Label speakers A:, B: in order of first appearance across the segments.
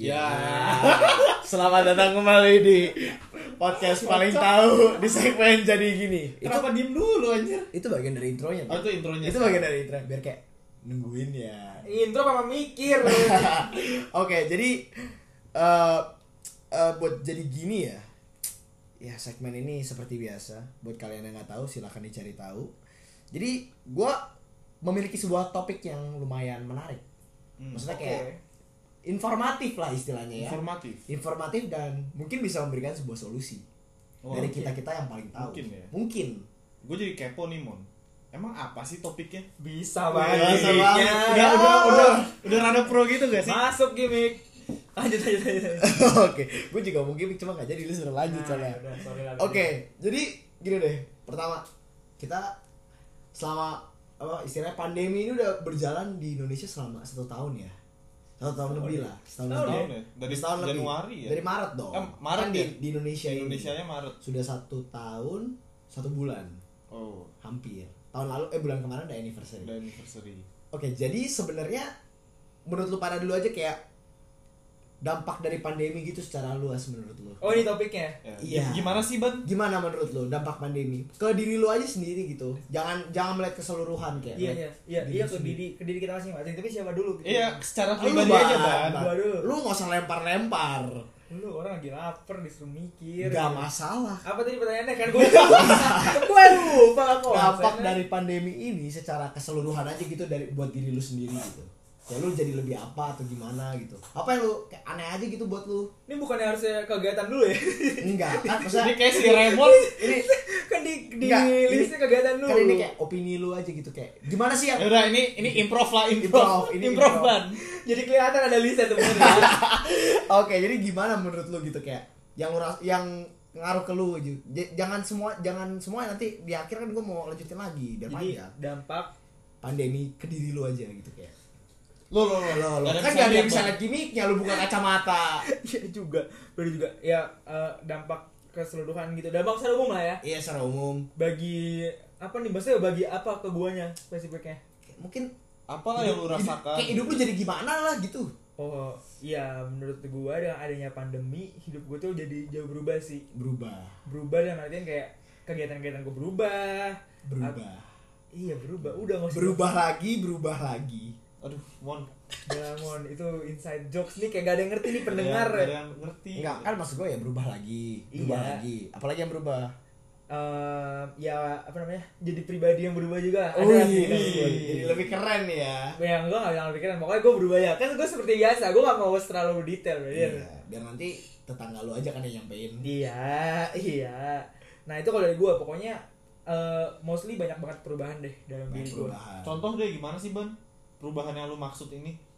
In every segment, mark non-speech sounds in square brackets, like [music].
A: Ya. [laughs] Selamat datang kembali di podcast paling tahu di segmen jadi gini. Itu
B: Kenapa diem dulu anjir?
A: itu bagian dari intronya.
B: Oh
A: Bro.
B: itu intronya.
A: Itu bagian dari intro biar kayak nungguin ya.
C: Intro apa mikir?
A: [laughs] Oke, jadi eh eh, buat jadi gini ya. Ya segmen ini seperti biasa. Buat kalian yang nggak tahu silahkan dicari tahu. Jadi gue memiliki sebuah topik yang lumayan menarik.
B: Hmm.
A: Maksudnya
C: Oke.
A: kayak informatif lah istilahnya ya.
B: Informatif.
A: Informatif dan mungkin bisa memberikan sebuah solusi
B: Oh,
A: dari
B: oke.
A: kita kita yang paling tahu.
B: Mungkin ya. [laughs]
A: Mungkin.
B: Gue jadi kepo nih mon. Emang apa sih topiknya? Iya.
C: Bisa
B: Udah,
C: banget.
A: Ah,
B: udah,
C: Ya.
B: udah, udah, udah, udah rada pro gitu gak sih?
C: Masuk gimmick. Lanjut lanjut lanjut.
A: Oke, gue juga mungkin cuma nggak jadi lu suruh lanjut soalnya.
C: Nah, udah, sorry lah.
A: Oke, jadi gini deh. Pertama, kita selama apa istilahnya pandemi ini udah berjalan di Indonesia selama satu tahun ya. Satu tahun lebih lah, setahun
B: Setahun
A: lebih.
B: ya? Dari
A: Setahun lebih.
B: Januari ya?
A: Dari Maret dong.
B: Eh, Maret
A: kan di,
B: ya?
A: di Indonesia ini.
B: Indonesia ya? nya Maret.
A: sudah satu tahun satu bulan
B: Oh,
A: hampir. Tahun lalu eh bulan kemarin ada anniversary.
B: udah anniversary.
A: Oke, jadi sebenarnya menurut lu pada dulu aja kayak dampak dari pandemi gitu secara luas menurut lu.
C: Oh ini topiknya.
B: Ya,
A: Iya.
B: gi- Gimana sih ban?
A: Gimana menurut lu dampak pandemi? Ke diri lu aja sendiri gitu. Jangan jangan melihat keseluruhan kayak.
C: Iya iya
A: melihat
C: iya iya ke
A: sendiri.
C: diri ke diri kita masing-masing. Tapi siapa dulu? gitu?
B: Iya, secara
A: Lu
B: pribadi
A: Ban,
B: aja ban.
A: Ban.
C: Gua dulu.
A: Lu nggak usah lempar-lempar.
C: Lu orang lagi lapar disuruh mikir.
A: Gak masalah.
C: Apa tadi pertanyaannya kan gue
A: [laughs]
C: lupa. gue lupa kok.
A: Dampak dari pandemi ini secara keseluruhan aja gitu dari buat diri lu sendiri gitu. Ya lu jadi lebih apa atau gimana gitu. Apa yang lu kayak aneh aja gitu buat lu?
C: ini bukannya harusnya kegiatan dulu ya? [laughs]
A: Enggak, kan
B: Ini
A: maksudnya
B: kayak si Raymond.
A: ini
C: kan di di
A: Enggak,
C: listnya
A: ini-
C: kegiatan dulu.
A: kan ini kayak opini lu aja gitu kayak gimana sih yang
B: Ya udah ini ini improv lah
A: Improv,
B: improv.
A: ini
B: Improv
A: improv.
B: ban.
C: jadi kelihatan ada listnya
A: Iya,
C: sebenarnya.
A: [laughs] Oke, jadi gimana menurut lu gitu kayak yang lu ras- yang ngaruh ke lu ju- J- jangan semua jangan semua nanti di akhir kan gue mau lanjutin lagi biar
C: jadi
A: panjang
C: dampak [laughs]
A: pandemi ke diri lu aja gitu kayak
B: Lo lo
A: lo, lo. kan gak
B: Gak ada bisa
A: ada
B: lihat,
A: yang bisa
B: Ban.
A: liat gimmicknya lu bukan kacamata
C: Iya juga, baru juga ya eh, dampak keseluruhan gitu. Dampak secara umum lah ya.
A: iya secara umum
C: Bagi apa nih maksudnya bagi apa ke guanya spesifiknya?
A: Kayak mungkin
B: Apalah yang lu
A: hidup-
B: rasakan?
A: kayak hidup lu jadi gimana lah gitu
C: Oh iya menurut gua dengan adanya pandemi hidup gua tuh jadi jauh berubah sih.
A: berubah
C: Berubah dalam artian kayak kegiatan-kegiatan gua berubah. Ap-
A: berubah
C: iya berubah. Udah nggak usah-
A: berubah lagi berubah lagi
B: Aduh, mon.
C: Udah, Mon. itu inside jokes nih kayak gak ada yang ngerti nih pendengar.
B: Iya, Gak ada yang ngerti.
A: enggak kan maksud gue ya berubah lagi berubah
C: Iya.
A: lagi apalagi yang berubah
C: Eh, ya apa namanya? Jadi pribadi yang berubah juga.
A: Oh iya,
C: sih, kan?
A: iya. Jadi lebih keren ya.
C: yang gue gak bilang pikiran pokoknya gue berubah ya kan gue seperti biasa gue gak mau terlalu detail ya. brother
A: Iya, biar nanti tetangga lu aja kan yang nyampein.
C: iya iya nah itu kalau dari gue pokoknya eh, mostly banyak banget perubahan deh dalam
A: Banyak
C: diri gue
A: perubahan.
B: Contoh deh gimana sih ban? Perubahan yang lu maksud ini?
A: Ih,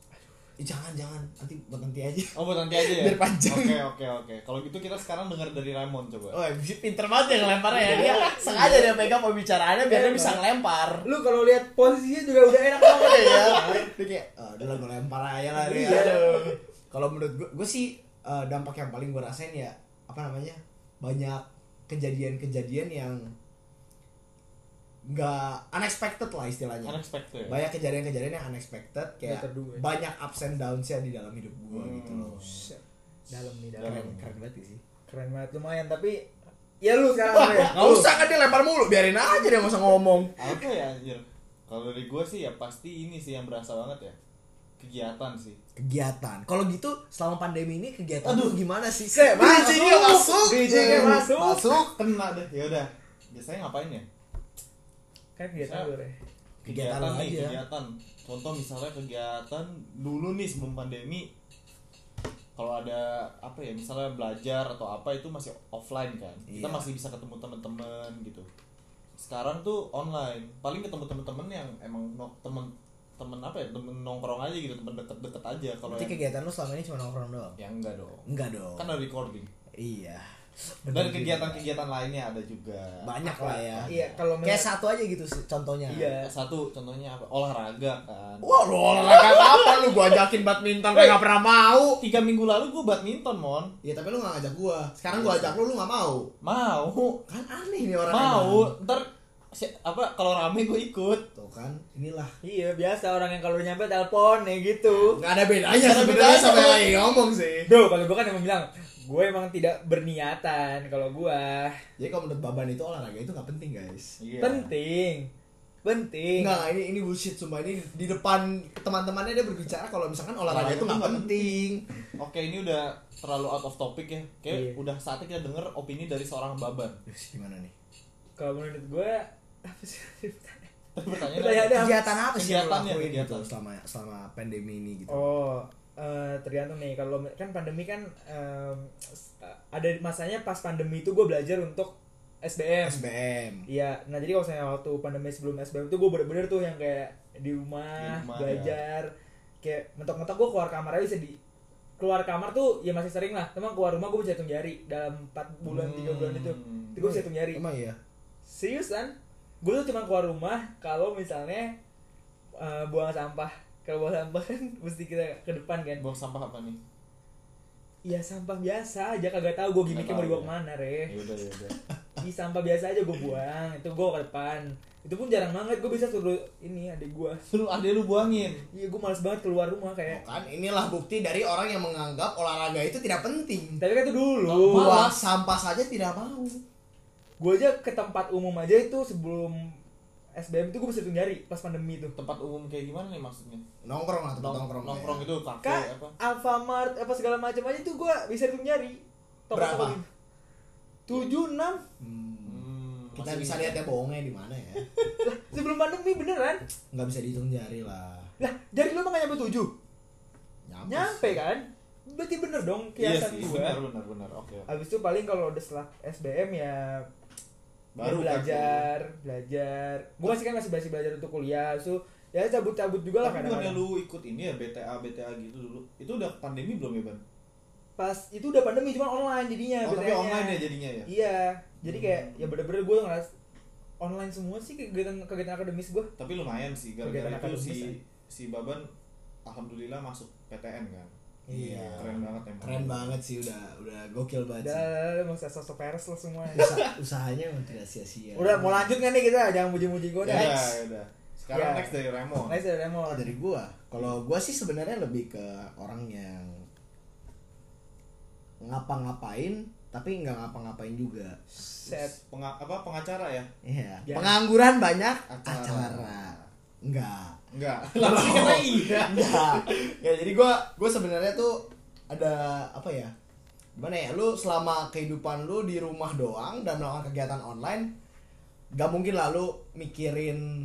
A: Eh, jangan jangan, nanti buat nanti aja. [laughs]
B: Oh buat nanti aja ya?
A: Biar panjang.
B: Oke oke oke Kalau gitu kita sekarang dengar dari Raymond coba
A: Oh, pinter banget yang lemparnya ya.
C: Iya.
A: Dia sengaja dia pegang pembicaraannya biar dia bisa
C: [laughs]
A: ngelempar.
C: lu kalau lihat posisinya juga udah enak banget
A: Iya ya. Dia kayak, "Ah, udah lah gue lempar aja lah dia.
C: Iya.
A: Aduh. Kalau menurut gue, gue sih eh, dampak yang paling gue rasain ya apa namanya banyak kejadian-kejadian yang nggak unexpected lah istilahnya.
B: Kan Unexpected
A: banyak kejadian-kejadian yang ya. unexpected kayak
C: Nggak terduga.
A: banyak ups and downs-nya di dalam hidup gua
B: Hmm.
A: gitu loh
C: Shit. dalam nih dalam
A: keren keren banget sih
C: keren banget lumayan tapi ya lu sekarang
A: Wah,
C: Andre.
A: nggak
C: Lu.
A: usah kan dia lempar mulu biarin aja dia nggak usah ngomong
B: Apa ya anjir? Kalau dari gue sih ya pasti ini sih yang berasa banget ya Kegiatan sih
A: kegiatan kalau gitu selama pandemi ini kegiatan tuh
B: Aduh.
A: gimana sih
C: Se,
A: bijinya
C: masuk.
A: masuk
C: Bijinya
A: Hmm,
C: masuk.
A: masuk Ya
B: Kena deh Yaudah Biasanya ngapain ya?
C: kan kegiatan lu Re.
A: Kegiatan lu
B: nih,
A: aja.
B: kegiatan Contoh misalnya kegiatan dulu nih sebelum pandemi kalau ada apa ya misalnya belajar atau apa itu masih offline kan kita
A: Iya.
B: masih bisa ketemu teman-teman gitu sekarang tuh online paling ketemu teman-teman yang emang no, temen temen apa ya temen nongkrong aja gitu temen deket-deket aja kalau
A: berarti
B: yang,
A: kegiatan lu selama ini cuma nongkrong doang
B: yang enggak dong
A: enggak dong
B: kan ada recording
A: iya
B: dan kegiatan-kegiatan lainnya ada juga
A: banyak lah ya
C: iya kalau
A: kayak
C: menurut-
A: satu aja gitu sih, contohnya
C: Iya.
B: satu contohnya apa olahraga kan
A: Wah, lu olahraga apa lu? Gua ajakin badminton kayak gak pernah mau.
B: tiga minggu lalu gue badminton mon
A: Ya tapi lu gak ngajak gua. Sekarang gua ajak lu, lu gak mau.
B: mau
A: Kan aneh nih orang.
B: mau
A: emang.
B: ntar si- apa kalau rame gue ikut
A: Tuh kan, inilah
C: Iya biasa orang yang kalau udah nyampe telepon ya gitu.
A: nggak ada bedanya
B: Nggak ada
A: sebenarnya
B: bedanya.
A: sama yang lagi ngomong sih.
C: Bro kalau gue kan emang bilang gue emang tidak berniatan kalau gue
A: Jadi kalau menurut Baban itu olahraga itu nggak penting guys.
B: Iya.
C: penting penting.
A: Enggak, ini ini bullshit sumpah ini di depan teman-temannya dia berbicara kalau misalkan olahraga itu
B: Olahraga tuh
A: nggak
B: nggak
A: penting.
B: Oke ini udah terlalu out of topic ya Kayak
C: Iya.
B: udah saatnya kita denger opini dari seorang baban
A: Terus gimana nih?
C: Kalau menurut gue apa sih pertanyaan?
B: Tapi pertanyaannya
C: Pertanyaannya apa?
A: Kegiatan apa sih yang lo
B: Kegiatan ya,
A: lakuin gitu
B: kegiatan.
A: selama selama pandemi ini gitu?
C: Oh, eh, tergantung nih. Kalau kan pandemi kan em, s- eh, ada masanya pas pandemi itu gue belajar untuk SBM.
A: SBM.
C: Iya, nah jadi kalau saya waktu pandemi sebelum SBM itu gue bener-bener tuh yang kayak di
B: Di
C: rumah,
B: rumah,
C: belajar, kayak mentok-mentok gue keluar kamar aja bisa di keluar kamar tuh ya masih sering lah, emang keluar rumah gue bisa hitung jari dalam 4 bulan tiga
B: Hmm.
C: bulan itu, itu gue bisa hitung jari.
A: Emang iya.
C: Seriusan, gue tuh cuma keluar rumah kalau misalnya eh, buang sampah, kalau buang sampah kan [laughs] mesti kita ke depan kan.
B: Buang sampah apa nih?
C: Iya sampah biasa aja kagak tahu gue gimmicknya
B: Nggak
C: mau
B: tahu
C: dibawa
B: ya.
C: kemana
B: Ya
C: re.
B: udah ya udah
C: di sampah biasa aja gue buang itu gue ke depan itu pun jarang banget gue bisa suruh ini adik gue
B: [laughs] Lu ada lu buangin
C: iya gue males banget keluar rumah kayak
A: Bukan, kan, inilah bukti dari orang yang menganggap olahraga itu tidak penting.
C: tapi kan itu
B: Oh,
C: dulu
A: Buang
B: malas.
A: sampah saja tidak mau.
C: gue aja ke tempat umum aja itu sebelum SBM itu gue bisa hitung jari pas pandemi itu
B: Tempat umum kayak gimana nih maksudnya?
A: Nongkrong atau
B: Nong-
A: nongkrong?
B: nongkrong gitu.
A: ya.
B: itu kafe
C: kak
B: apa?
C: Alfamart apa segala macam aja tuh gue bisa hitung jari
A: Berapa?
C: tujuh enam
A: Hmm,
B: Hmm,
A: kita
B: masih
A: bisa
B: ingat.
A: lihat ya bohongnya di mana ya.
C: lah sebelum pandemi beneran
A: Nggak bisa dihitung jari lah.
C: lah jari lu mah nggak nyampe tujuh
A: Nyampe.
C: nyampe kan berarti bener dong
B: Iya
C: kiasan
B: sih,
C: gue
B: benar benar benar. Oke. oke.
C: Habis itu paling kalau udah setelah SBM ya
B: Baru
C: ya belajar, belajar. Gue masih kan masih masih belajar untuk kuliah. So, ya cabut-cabut juga lah
B: Tapi bukannya
C: kadang-kadang.
B: lu ikut ini ya BTA BTA gitu dulu. Itu udah pandemi belum ya, Ban?
C: Pas itu udah pandemi cuman online jadinya.
B: Oh, tapi
C: BTN-nya.
B: online ya jadinya Hmm. ya.
C: Iya. Jadi kayak ya bener-bener gue ngeras online semua sih kegiatan kegiatan akademis gue.
B: Tapi lumayan sih
C: Kegiatan
B: gara-gara itu
C: akademis
B: si
C: ya.
B: si Baban alhamdulillah masuk PTN kan.
A: Iya.
B: Keren banget emang.
A: Keren banget sih udah udah gokil banget. sih.
C: Udah mau sosok peres lah
B: [laughs]
C: semua.
A: Usa- usahanya emang tidak sia-sia.
C: Udah mau lanjut kan nih kita jangan muji-muji gue
B: Ya
C: dah.
B: udah, ya udah. Sekarang
C: Ya.
B: next dari Raymond.
C: Nice ya mau.
A: Oh, dari gua. Kalau gua sih sebenarnya lebih ke orang yang ngapa-ngapain tapi nggak ngapa-ngapain juga.
C: Set.
B: Penga- apa pengacara ya?
A: Iya.
C: Ya.
A: Pengangguran banyak
B: Acara.
A: Enggak.
B: Enggak. [laughs] Langsung kena iya.
A: Enggak. ya jadi gua gua sebenarnya tuh ada apa ya? Gimana ya? Lu selama kehidupan lu di rumah doang dan melakukan kegiatan online gak mungkin lah lu mikirin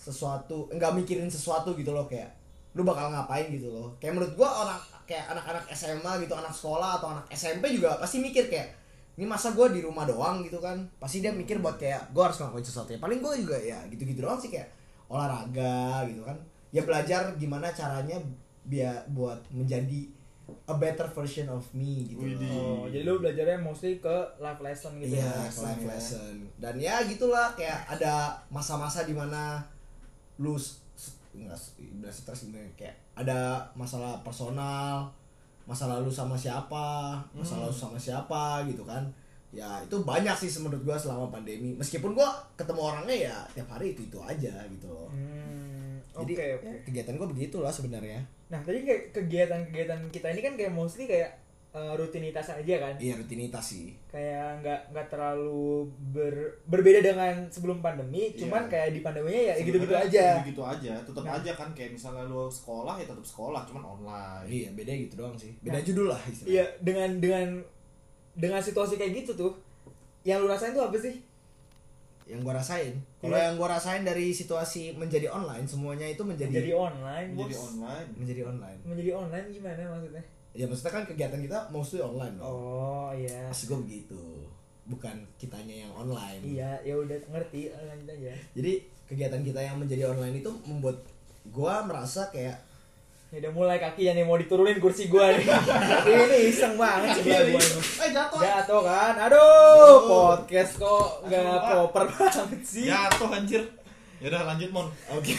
A: sesuatu, enggak mikirin sesuatu gitu loh kayak lu bakal ngapain gitu loh. Kayak menurut gua orang kayak anak-anak SMA gitu, anak sekolah atau anak SMP juga pasti mikir kayak ini masa gua di rumah doang gitu kan pasti dia mikir buat kayak gua harus ngelakuin sesuatu ya paling gua juga ya gitu-gitu doang sih kayak olahraga gitu kan ya belajar gimana caranya biar buat menjadi a better version of me gitu
B: Widih.
A: loh.
C: Oh, jadi lu belajarnya mostly ke life lesson gitu
A: Iya,
C: ya.
A: life
B: ya.
A: lesson. Dan ya gitulah kayak ada masa-masa di mana lu s- s- enggak s- bilang stres sebenarnya kayak ada masalah personal, masa lalu sama siapa, masa lalu
C: Hmm.
A: sama siapa gitu kan. Ya itu banyak sih menurut gua selama pandemi. Meskipun gua ketemu orangnya ya tiap hari itu-itu aja gitu loh.
C: Hmm, Oke,
A: Jadi
C: oke.
A: ya, kegiatan gua begitulah sebenarnya.
C: Nah, tadi kayak kegiatan-kegiatan kita ini kan kayak mostly kayak eh, rutinitas aja kan.
A: Iya rutinitas sih.
C: Kayak nggak nggak terlalu ber- berbeda dengan sebelum pandemi,
B: Iya.
C: cuman kayak di pandeminya ya
B: Sebenarnya
C: gitu-gitu aja.
B: gitu-gitu aja tetap
C: Nah.
B: aja kan kayak misalnya lu sekolah ya tetap sekolah cuman online
A: Iya, beda gitu doang sih. Beda judul lah istilahnya.
C: Iya, dengan dengan dengan situasi kayak gitu tuh, yang lu rasain tuh apa sih?
A: yang gua rasain kalau
C: Iya.
A: yang gua rasain dari situasi menjadi online semuanya itu menjadi
C: Jadi online, Iya, bos.
B: jadi online
A: menjadi online
C: Menjadi online gimana maksudnya?
A: ya maksudnya kan kegiatan kita mostly online loh
C: Oh, iya.
A: maksud gua begitu bukan kitanya yang online
C: Iya, ya udah ngerti, lanjut aja.
A: jadi kegiatan kita yang menjadi online itu membuat gua merasa
C: [laughs]
A: kayak
C: Ya udah mulai kaki yang mau diturunin kursi gua nih. ini iseng banget sebelah Iya, gua ini.
A: eh jatuh
C: Jatuh kan? Aduh, podcast kok nggak
B: Aduh,
C: proper banget sih.
B: jatuh anjir ya udah lanjut mon
A: oke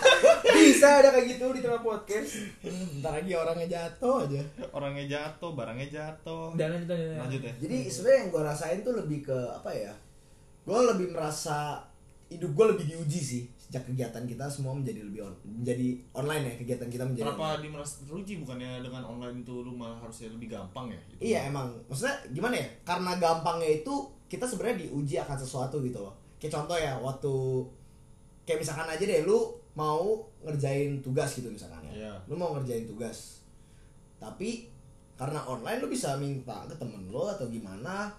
A: [laughs]
C: Bisa ada kayak gitu di tengah podcast.
A: bentar lagi orangnya jatuh aja
B: orangnya jatuh barangnya jatuh
C: Udah lanjut aja.
B: lanjut ya
C: Iya.
A: jadi sebenarnya yang gua rasain tuh lebih ke apa ya gua lebih merasa hidup gue lebih diuji sih sejak kegiatan kita semua menjadi lebih on, menjadi online ya kegiatan kita menjadi online.
B: Kenapa di merasa teruji bukannya dengan online itu lu malah harusnya lebih gampang ya? Gitu.
A: Iya emang, maksudnya gimana ya? Karena gampangnya itu kita sebenarnya diuji akan sesuatu gitu loh. Kayak contoh ya waktu kayak misalkan aja deh lu mau ngerjain tugas gitu misalkan ya.
B: Iya.
A: Lu mau ngerjain tugas. Tapi karena online lu bisa minta ke temen lu atau gimana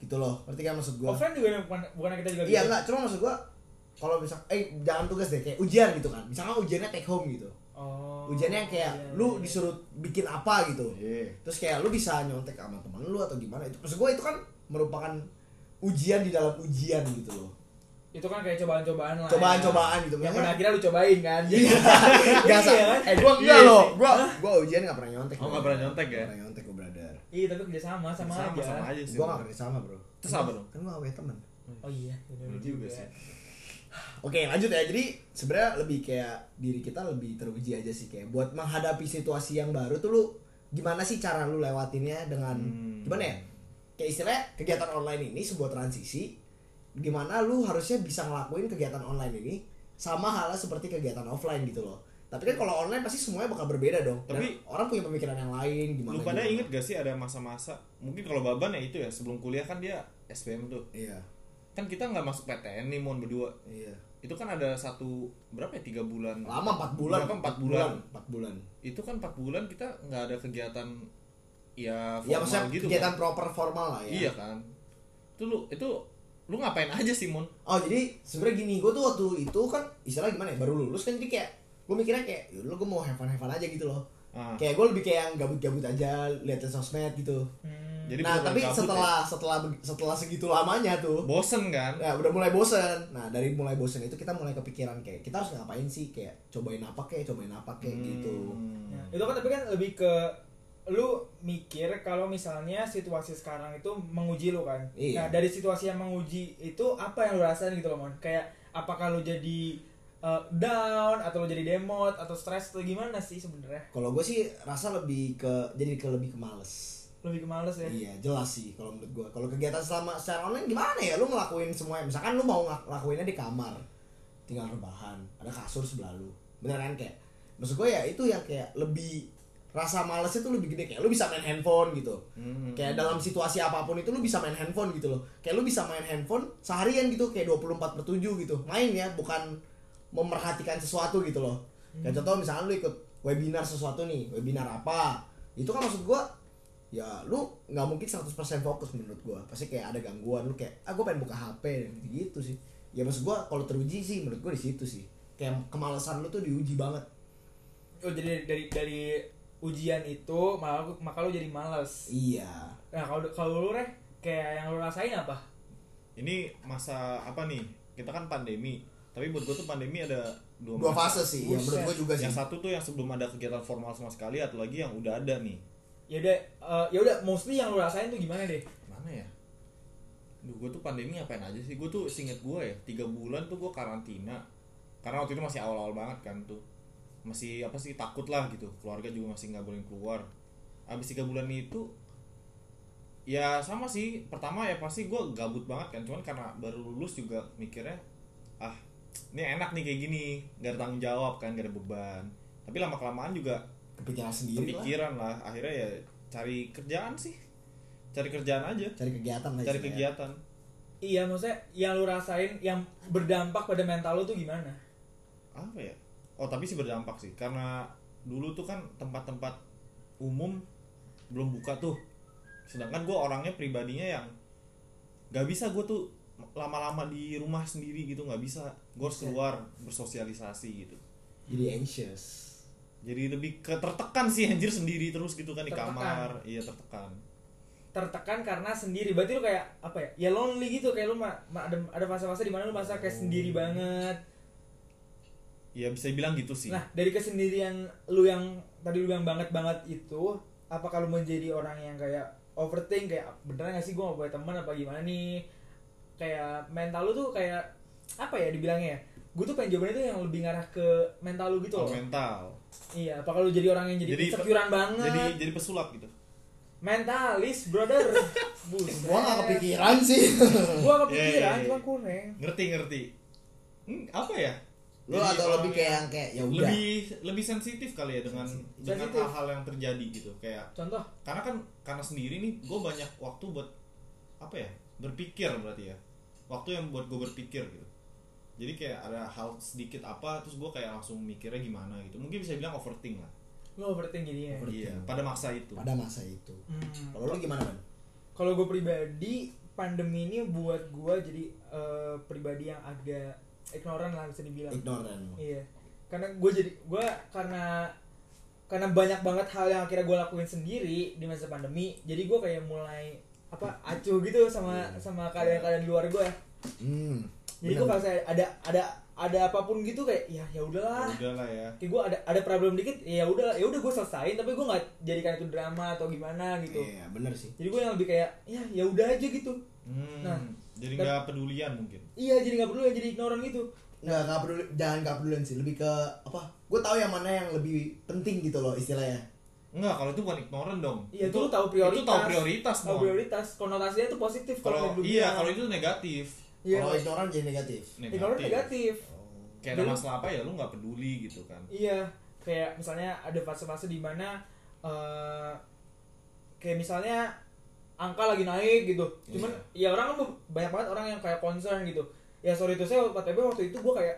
A: gitu loh. Ngerti kan maksud gua?
C: Offline juga bukan bukan kita juga
A: Iya
C: Oh, gitu.
A: enggak, cuma maksud gua kalau misal eh jangan tugas deh kayak ujian gitu kan. Misalkan ujiannya take home gitu.
C: Oh.
A: Ujiannya yang kayak
C: iya,
A: lu
C: iya.
A: disuruh bikin apa gitu
B: Iya.
A: terus kayak lu bisa nyontek sama teman lu atau gimana itu maksud gue itu kan merupakan ujian di dalam ujian gitu loh
C: Itu kan kayak cobaan-cobaan lah.
A: cobaan-cobaan gitu
C: Yang pada
A: Maksudnya-
C: akhirnya lu cobain kan.
A: Iya. Gak sa-
C: Iya kan?
A: eh gue enggak
B: Iya.
A: loh gue gue ujian gak pernah nyontek
B: Oh, nggak
A: bro.
B: pernah nyontek ya?
A: Nggak pernah nyontek gue brother
C: Iya, tapi kerja sama sama,
B: sama,
C: aja.
B: sama aja sih.
A: gue gak kerja sama bro
B: Terus apa dong?
A: kan gue awet temen
C: Oh iya, bener
B: Bener juga
C: juga.
B: sih.
A: oke lanjut ya jadi sebenarnya lebih kayak diri kita lebih teruji aja sih kayak buat menghadapi situasi yang baru tuh lu gimana sih cara lu lewatinnya dengan
B: Hmm.
A: gimana ya kayak istilahnya kegiatan online ini sebuah transisi dimana lu harusnya bisa ngelakuin kegiatan online ini sama halnya seperti kegiatan offline gitu loh tapi kan kalau online pasti semuanya bakal berbeda dong Dan
B: Tapi-
A: orang punya pemikiran yang lain gimana
B: Lu pada
A: gimana.
B: inget gak sih ada masa-masa mungkin kalau Baban ya itu ya sebelum kuliah kan dia SPM tuh
A: iya
B: kan kita nggak masuk PTN nih mon berdua
A: iya
B: itu kan ada satu berapa ya tiga bulan
A: lama empat bulan
B: Berapa? empat bulan.
A: empat bulan
B: itu kan empat bulan kita nggak ada kegiatan ya formal
A: ya maksudnya
B: gitu
A: kegiatan
B: kan.
A: proper formal lah ya
B: iya kan itu lu itu lu ngapain aja sih mon
A: Oh jadi sebenarnya gini gue tuh waktu itu kan istilah gimana ya baru lulus kan jadi kayak gue mikirnya kayak yaudah gue mau have fun have fun aja gitu loh
B: Ah.
A: kayak gue lebih kayak yang gabut-gabut aja liatin sosmed gitu
C: Hmm.
B: jadi
A: nah
B: beneran
A: tapi
B: gabut
A: setelah setelah setelah segitu lamanya
B: ya.
A: tuh
B: bosen kan
A: nah udah mulai bosen nah dari mulai bosen itu kita mulai kepikiran kayak kita harus ngapain sih kayak cobain apa kayak cobain apa kayak gitu
B: Hmm.
C: Nah, itu kan tapi kan lebih ke lu mikir kalau misalnya situasi sekarang itu menguji lu kan.
A: Iya.
C: Nah, dari situasi yang menguji itu apa yang lu rasain gitu loh, Mon? Kayak apakah lu jadi uh, down atau lu jadi demot atau stres atau gimana sih sebenarnya?
A: kalau gue sih rasa lebih ke jadi ke lebih ke males
C: Lebih ke males ya.
A: Iya jelas sih kalau menurut gua Kalau kegiatan selama secara online gimana ya lu ngelakuin semuanya Misalkan lu mau ngak- ngelakuinnya di kamar Tinggal rebahan Ada kasur sebelah lu Beneran kan? kayak Maksud gua ya itu yang kayak lebih Rasa males itu lebih gede Kayak lu bisa main handphone gitu
B: Hmm.
A: Kayak dalam situasi apapun itu lu bisa main handphone gitu loh Kayak lu bisa main handphone seharian gitu Kayak 24 per 7 gitu Main ya bukan memperhatikan sesuatu gitu loh
B: Hmm.
A: Kayak contoh misalkan lu ikut webinar sesuatu nih Webinar apa Itu kan maksud gua ya lu nggak mungkin 100% fokus menurut gua pasti kayak ada gangguan lu kayak ah gua pengen buka HP gitu sih ya maksud gua kalau teruji sih menurut gua di situ sih kayak kemalasan lu tuh diuji banget
C: Oh, jadi dari dari ujian itu maka, maka lu jadi males.
A: iya
C: Nah, kalau kalau lu reh kayak yang lu rasain apa?
B: ini masa apa nih kita kan pandemi tapi buat gue tuh pandemi ada dua,
A: dua
B: masa.
A: fase sih ya menurut gua juga sih
B: yang satu tuh yang sebelum ada kegiatan formal sama sekali atau lagi yang udah ada nih
C: Ya udah eh, ya udah mostly yang lu rasain tuh gimana deh?
B: mana ya? Duh, gue tuh pandemi ngapain aja sih? Gue tuh singet gue ya, tiga bulan tuh gue karantina. Karena waktu itu masih awal-awal banget kan tuh. Masih apa sih takut lah gitu. Keluarga juga masih nggak boleh keluar. Abis tiga bulan itu ya sama sih pertama ya pasti gue gabut banget kan cuman karena baru lulus juga mikirnya ah ini enak nih kayak gini gak ada tanggung jawab kan gak ada beban tapi lama kelamaan juga
A: kepikiran sendiri Iya lah
B: kepikiran lah akhirnya ya cari kerjaan sih cari kerjaan aja
A: cari kegiatan lah
B: cari
A: istilahnya.
B: kegiatan
C: Iya, maksudnya yang lu rasain yang berdampak pada mental lu tuh gimana?
B: apa ya oh tapi sih berdampak sih karena dulu tuh kan tempat-tempat umum belum buka tuh sedangkan gue orangnya pribadinya yang gak bisa gue tuh lama-lama di rumah sendiri gitu nggak bisa gue
C: Iya.
B: harus keluar bersosialisasi gitu
A: jadi anxious
B: jadi lebih ke tertekan sih anjir sendiri terus gitu kan di
C: Tertekan.
B: kamar iya tertekan
C: tertekan karena sendiri berarti lu kayak apa ya ya lonely gitu kayak lu ma, ma- ada ada fase-fase di mana lu merasa
B: Oh,
C: kayak sendiri banget
B: ya bisa bilang gitu sih
C: nah dari kesendirian lu yang tadi lu bilang banget banget itu apa kalau menjadi orang yang kayak overthink kayak beneran gak sih gue gak punya teman apa gimana nih kayak mental lu tuh kayak apa ya dibilangnya ya gue tuh pengen jawabannya tuh yang lebih ngarah ke mental lu gitu
B: Soal
C: loh
B: mental
C: iya apa kalau jadi orang yang jadi,
B: Oh, Jadi-
C: insecurean banget
B: jadi jadi pesulap gitu
C: mentalis
B: [laughs]
C: brother Buset.
A: gua gak kepikiran sih [laughs]
C: gua
B: Iya, iya,
C: kepikiran
B: iya.
C: cuma kurang
B: ngerti ngerti Hmm, apa ya?
D: Lu
B: Jadi
D: atau
B: orang
D: lebih kayak yang kayak ya udah.
B: lebih lebih sensitif kali ya dengan
C: Sensitif.
B: dengan
C: Sensitif.
B: hal-hal yang terjadi gitu kayak
C: Contoh,
B: karena kan karena sendiri nih gue banyak waktu buat apa ya berpikir berarti ya waktu yang buat gue berpikir gitu jadi kayak ada hal sedikit apa terus gue kayak langsung mikirnya gimana gitu mungkin bisa bilang overthink lah
C: lu overthink jadinya. ya.
A: Overthink.
B: iya pada masa itu
A: pada masa itu
C: Hmm.
A: kalau lu gimana kan
C: Kalau gue pribadi, pandemi ini buat gue jadi eh, pribadi yang agak ignoran lah bisa dibilang.
A: ignoran lu
C: Iya. Karena gue jadi gue karena karena banyak banget hal yang akhirnya gue lakuin sendiri di masa pandemi. Jadi gue kayak mulai apa acuh gitu sama sama kalian-kalian di luar gue.
A: hmm
C: Jadi gue
A: bener.
C: merasa ada ada ada apapun gitu kayak ya ya
B: Ya
C: udahlah.
B: udah lah ya
C: Kayak gue ada ada problem dikit ya udah ya udah gue selesain tapi gue nggak jadikan itu drama atau gimana gitu.
A: iya bener sih
C: Jadi gue yang lebih kayak ya ya udah aja gitu.
B: hmm,
C: Nah,
B: jadi
C: dan-
B: nggak pedulian mungkin
C: Iya jadi nggak perlu ya jadi ignoran gitu.
A: nggak nggak peduli jangan nggak pedulian sih lebih ke apa gue tahu yang mana yang lebih penting gitu loh istilahnya
B: Enggak, kalau itu bukan ignoran dong.
C: Iya itu, lu tahu prioritas.
B: Itu tahu prioritas
C: Tahu
B: dong.
C: prioritas. Konotasinya tuh positif
B: Kalau
C: lu
B: iya,
C: bilang.
B: kalau itu negatif.
C: Iya.
A: kalau ignoran jadi negatif Oh,
B: Negatif.
C: Ignoran negatif.
B: Kayak ada
C: Jadi-
B: masalah apa ya lu nggak peduli gitu kan.
C: Iya. Kayak misalnya ada fase-fase di mana eh kayak misalnya angka lagi naik gitu. Cuman
B: Iya.
C: ya orang kan banyak banget orang yang kayak concern gitu. Ya sorry itu saya PTB waktu itu gua kayak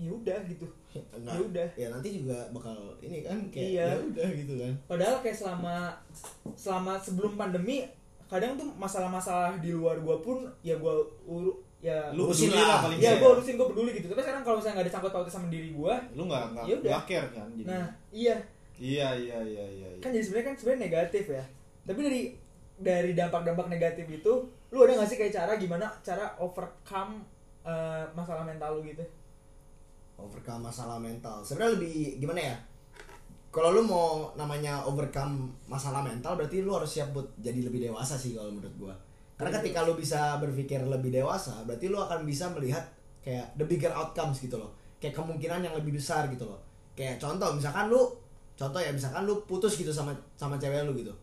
C: ya udah gitu.
A: Nggak-
C: Ya udah.
A: ya nanti juga bakal ini kan kayak
C: Iya.
A: ya udah gitu kan
C: Padahal kayak selama selama sebelum pandemi kadang tuh masalah-masalah di luar gua pun ya gua uru ya
B: Lu
A: Urusin
B: peduli
A: lah.
B: lah paling
C: ya
B: nggak
C: gua urusin gua peduli gitu. Tapi sekarang kalau misalnya nggak ada sangkut pautnya sama diri gua,
B: Lu nggak nggak
C: Ya udah.
B: nggak care kan jadi.
C: nah iya
B: Iya, iya, iya, iya. iya.
C: kan jadi sebenarnya kan sebenarnya negatif ya. Tapi dari dari dampak-dampak negatif itu, lu ada nggak sih kayak cara gimana cara overcome eh, masalah mental lu gitu?
A: overcome masalah mental sebenarnya lebih gimana ya kalau lu mau namanya overcome masalah mental berarti lu harus siap buat jadi lebih dewasa sih kalau menurut gua karena ketika lu bisa berpikir lebih dewasa berarti lu akan bisa melihat kayak the bigger outcomes gitu loh kayak kemungkinan yang lebih besar gitu loh kayak contoh misalkan lu contoh ya misalkan lu putus gitu sama sama cewek lu gitu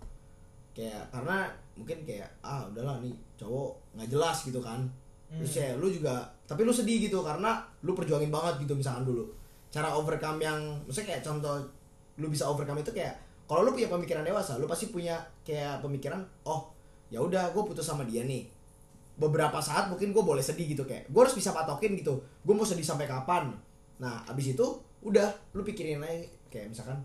A: kayak karena mungkin kayak ah udahlah nih cowok nggak jelas gitu kan terus ya lu juga tapi lu sedih gitu karena lu perjuangin banget gitu misalkan dulu cara overcome yang maksudnya kayak contoh lu bisa overcome itu kayak kalau lu punya pemikiran dewasa lu pasti punya kayak pemikiran oh ya udah gue putus sama dia nih beberapa saat mungkin gue boleh sedih gitu kayak gue harus bisa patokin gitu gue mau sedih sampai kapan nah abis itu udah lu pikirin aja kayak misalkan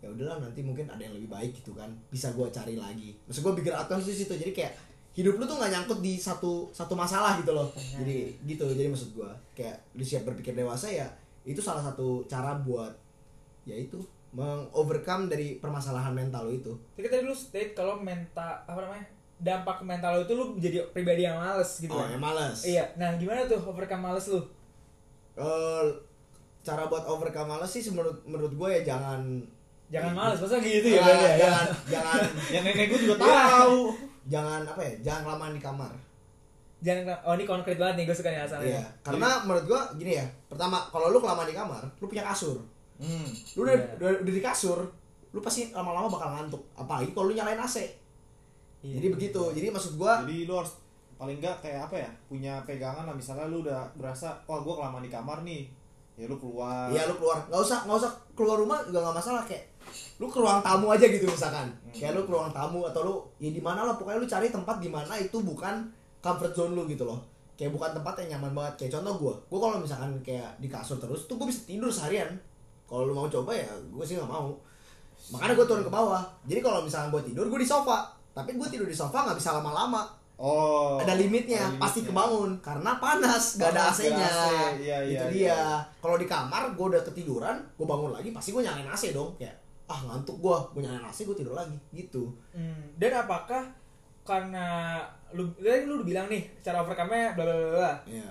A: ya udahlah nanti mungkin ada yang lebih baik gitu kan bisa gue cari lagi maksud gue pikir outcomes di situ jadi kayak hidup lu tuh nggak nyangkut di satu satu masalah gitu loh jadi gitu jadi maksud gue kayak lu siap berpikir dewasa ya itu salah satu cara buat yaitu mengovercome dari permasalahan mental lu itu
C: Tapi kan tadi lu state kalau mental apa namanya dampak ke mental lu itu lu jadi pribadi yang males gitu
A: oh
C: kan?
A: yang males
C: Iya. Nah gimana tuh overcome males lu?
A: Eh, cara buat overcome males sih menurut menurut gue ya jangan
C: Jangan males, masa
A: Ah,
C: gitu ya? Bang, ya?
A: jangan jangan
B: Yang Ya, nenek gue juga tahu.
A: tahu jangan apa ya jangan kelamaan di kamar
C: Jangan. Oh ini konkret banget nih, gue suka nih alasannya.
A: Iya, karena menurut gua gini ya. Pertama, kalau lu kelamaan di kamar, lu punya kasur.
B: Hmm.
A: Lu udah,
C: Iya.
A: udah, udah di kasur, lu pasti lama-lama bakal ngantuk. Apalagi kalau lu nyalain AC.
C: Iya.
A: Jadi begitu. Jadi maksud gua
B: Jadi lu harus paling nggak kayak apa ya? Punya pegangan lah misalnya lu udah berasa, wah gua kelamaan di kamar nih. Ya lu keluar.
A: Iya lu keluar, nggak usah nggak usah keluar rumah juga nggak masalah kayak lu ke ruang tamu aja gitu misalkan, kayak lu ke ruang tamu atau lu ya di mana lah pokoknya lu cari tempat di mana itu bukan comfort zone lu gitu loh, kayak bukan tempat yang nyaman banget kayak contoh gua, gua kalau misalkan kayak di kasur terus tuh gua bisa tidur seharian, kalau lu mau coba ya gua sih nggak mau, makanya gua turun ke bawah, jadi kalau misalkan gua tidur gua di sofa, tapi gua tidur di sofa nggak bisa lama-lama,
B: Oh.
A: ada limitnya pasti kebangun karena panas gak ada
B: Panas,
A: AC-nya
B: nggak ada AC, iya,
A: itu
B: iya,
A: dia
B: iya.
A: kalau di kamar gue udah ketiduran gue bangun lagi pasti gue nyalain AC dong kayak ah ngantuk gue gue nyalain AC gue tidur lagi gitu
C: Hmm, dan apakah karena lu tadi lu udah bilang nih cara overcome-nya bla bla bla bla.
B: Iya.
A: ya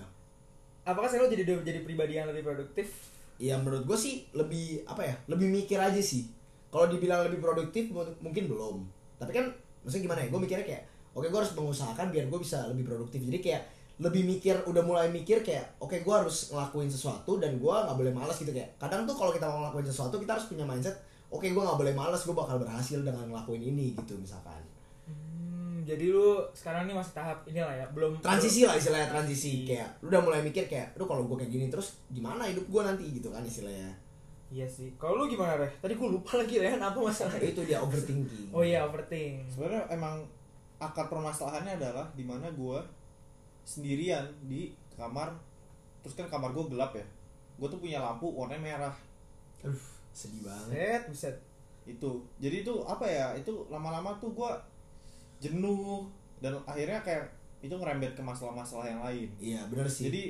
C: Apakah saya lu jadi jadi pribadi yang lebih produktif?
A: ya menurut gue sih lebih apa ya lebih mikir aja sih kalau dibilang lebih produktif mu- mungkin belum tapi kan maksudnya gimana ya gue mikirnya kayak oke gue harus mengusahakan biar gue bisa lebih produktif jadi kayak lebih mikir udah mulai mikir kayak oke gue harus ngelakuin sesuatu dan gue nggak boleh malas gitu kayak kadang tuh kalau kita mau ngelakuin sesuatu kita harus punya mindset oke gue nggak boleh malas gue bakal berhasil dengan ngelakuin ini gitu misalkan
C: Hmm, jadi lu sekarang ini masih tahap inilah ya belum
A: transisi lah istilahnya transisi
C: Hmm.
A: kayak lu udah mulai mikir kayak lu kalau gue kayak gini terus gimana hidup gue nanti gitu kan istilahnya
C: iya sih kalau lu gimana Reh? tadi gue lupa lagi Reh apa masalahnya
A: itu dia overthinking
C: oh iya overthink
B: sebenarnya emang akar permasalahannya adalah di mana gue sendirian di kamar terus kan kamar gue gelap ya gue tuh punya lampu warnanya merah
A: Aduh, sedih banget
C: set buset
B: itu jadi itu apa ya itu lama-lama tuh gue jenuh dan akhirnya kayak itu ngerembet ke masalah-masalah yang lain
A: iya bener sih
B: jadi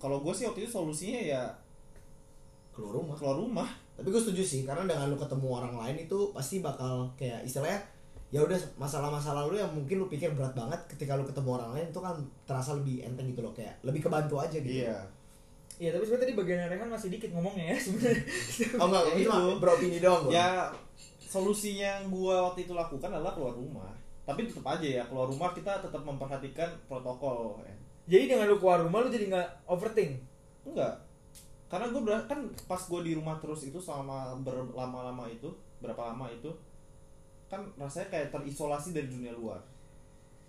B: kalau gue sih waktu itu solusinya ya
A: keluar rumah
B: keluar rumah
A: tapi gue setuju sih karena dengan lu ketemu orang lain itu pasti bakal kayak istilahnya ya udah masalah-masalah lu yang mungkin lu pikir berat banget ketika lu ketemu orang lain itu kan terasa lebih enteng gitu loh kayak lebih kebantu aja gitu
B: iya
C: Iya tapi sebenarnya tadi bagian Rehan masih dikit ngomongnya ya sebenarnya. [laughs]
A: oh enggak
B: Ya
A: itu cuma
B: itu.
A: beropini doang gue
B: ya solusinya yang gue waktu itu lakukan adalah keluar rumah tapi tetap aja ya keluar rumah kita tetap memperhatikan protokol ya.
C: jadi dengan lu keluar rumah lu jadi nggak overthink.
B: enggak karena gue kan pas gue di rumah terus itu selama berlama-lama itu berapa lama itu kan rasanya kayak terisolasi dari dunia luar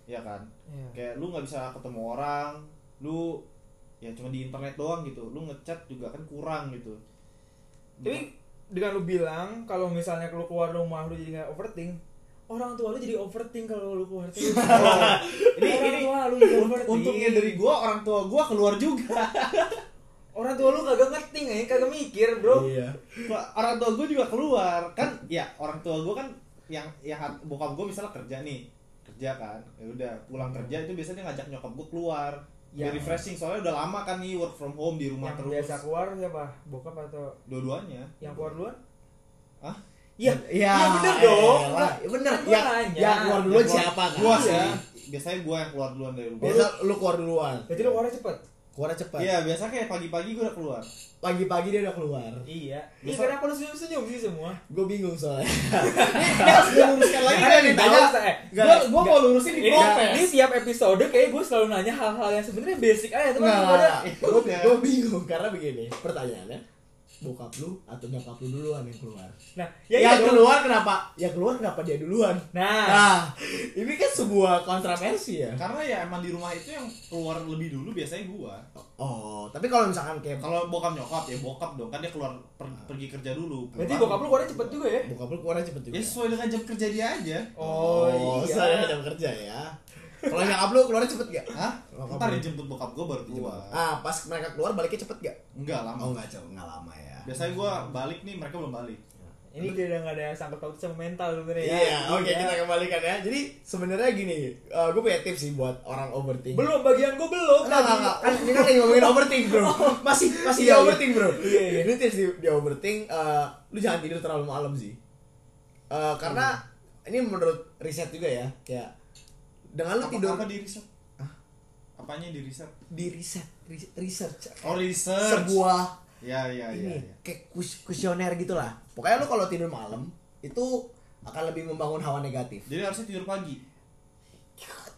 B: ya kan
C: Iya.
B: kayak lu nggak bisa ketemu orang lu ya cuma di internet doang gitu lu ngechat juga kan kurang gitu
C: Tapi dengan lu bilang kalau misalnya lu keluar rumah lu jadi nggak overthink, orang tua lu jadi overthink kalau lu keluar rumah.
A: [laughs]
C: ini orang tua lu jadi overthink.
B: untungnya dari gua orang tua gua keluar juga
C: orang tua lu kagak ngerti nggak ya, kagak mikir bro.
A: iya
B: orang tua gue juga keluar kan ya orang tua gue kan yang ya hat- bokap gue misalnya kerja nih kerja kan ya udah pulang kerja itu biasanya ngajak nyokap gue keluar ya.
C: Ya.
B: refreshing soalnya udah lama kan nih work from home di rumah
C: Yang
B: terus
C: biasa keluar siapa? Bokap atau
B: dua-duanya
C: yang keluar duluan?
B: ah
C: Iya,
A: Iya,
C: iya bener dong.
A: elah.
C: Enggak,
A: Ya bener.
C: kan gua
A: Ya,
C: nanya.
A: ya keluar dulu. Duluan siapa kan?
B: gue sih
A: Iya.
B: biasanya gue yang keluar duluan dari rumah
A: biasa lu keluar duluan
C: Ya, Jadi lu keluar cepet.
A: keluarnya cepat
B: Iya, biasa kayak pagi-pagi gue udah keluar.
A: pagi-pagi dia udah keluar
C: Iya. Iya
B: Biasa-
C: kenapa lu senyum-senyum sih semua?
A: gue bingung soalnya [laughs]
B: Ini harus gue luruskan lagi
C: Karena
B: kan
C: dia
B: ditanya. Iya.
C: tahu, eh,
B: Gue
C: enggak,
B: gue mau
C: enggak.
B: lurusin di
C: Ini, ini
B: protes.
C: tiap episode kayak gue selalu nanya hal-hal yang sebenarnya basic aja teman
A: Nggak,
C: gue ada
A: nggak. Gua- gua bingung karena begini pertanyaannya bokap lu atau nyokap lu duluan yang keluar
C: nah ya,
A: ya,
C: iya dong.
A: keluar kenapa ya keluar kenapa dia duluan
C: nah,
A: nah ini kan sebuah kontroversi ya
B: Karena ya emang di rumah itu yang keluar lebih dulu biasanya gue.
A: oh tapi kalau misalkan kayak
B: Kalau bokap nyokap ya bokap dong kan dia keluar per- pergi kerja dulu.
C: berarti
B: Pulang.
C: bokap lu keluarnya cepet juga ya
A: bokap lu keluar cepet juga
B: Ya sesuai dengan jam kerja dia aja.
C: oh,
A: saya
C: iya
A: jam kerja ya kalau nyokap lu keluarnya cepet gak
B: Hah?
A: Bokap
B: Ntar
A: lu. ya?
B: dijemput bokap gue baru keluar.
A: ah pas mereka keluar baliknya cepet gak
B: Enggak lama.
A: oh nggak jauh nggak lama ya
B: Biasanya gue balik nih mereka belum balik.
C: ini dia udah nggak ada sangkut paut sama mental sebenarnya
A: Iya,
C: ya.
A: oke
C: Iya.
A: kita kembalikan ya. Jadi sebenarnya gini, eh, gue punya tips sih buat orang overthinking.
C: belum bagian gue belum
A: Enggak, enggak, enggak. Kan ini kan lagi ngomongin overthink, Bro. [laughs] Masih masih di
C: Iya, iya.
A: overthink, Bro.
C: Iya, iya.
A: Ini tips di, di overthink eh, lu jangan tidur terlalu malam sih. Eh, karena ini menurut riset juga ya, kayak dengan lu
B: Apa,
A: tidur
B: apa di riset? Apanya di riset?
A: di riset, ris- research Ah, iya,
B: Oh research.
A: sebuah
B: Ya ya ya.
A: ini
B: ya.
A: kayak kus- kuesioner gitu lah. Pokoknya lu kalau tidur malam itu akan lebih membangun hawa negatif.
B: Jadi harusnya tidur pagi.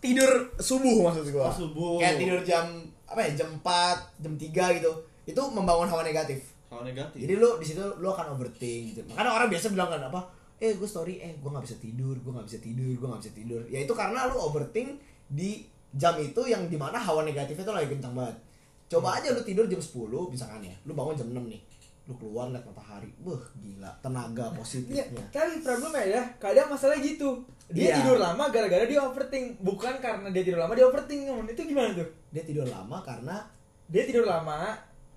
A: tidur subuh maksud gua.
B: Oh, subuh.
A: Kayak tidur jam apa ya? Jam 4, jam 3 gitu. Itu membangun hawa negatif.
B: Kalau negatif.
A: Jadi lu di situ lu akan overthink gitu. Makanya orang biasa bilang kan apa? Eh, gue story, eh gua nggak bisa tidur, gua nggak bisa tidur, gua nggak bisa tidur. Ya itu karena lu overthink di jam itu yang dimana hawa negatifnya tuh lagi kencang banget.
C: Hmm.
A: Coba aja lu tidur jam 10 misalkan ya. Lu bangun jam 6 nih. Lu keluar liat matahari. Beuh, gila. Tenaga
C: Iya,
A: positifnya.
C: tapi problemnya ya, kadang masalah gitu. Dia
A: Iya.
C: tidur lama gara-gara dia overthink, bukan karena dia tidur lama dia overthink. Ngomong, Itu gimana tuh?
A: Dia tidur lama karena
C: dia tidur lama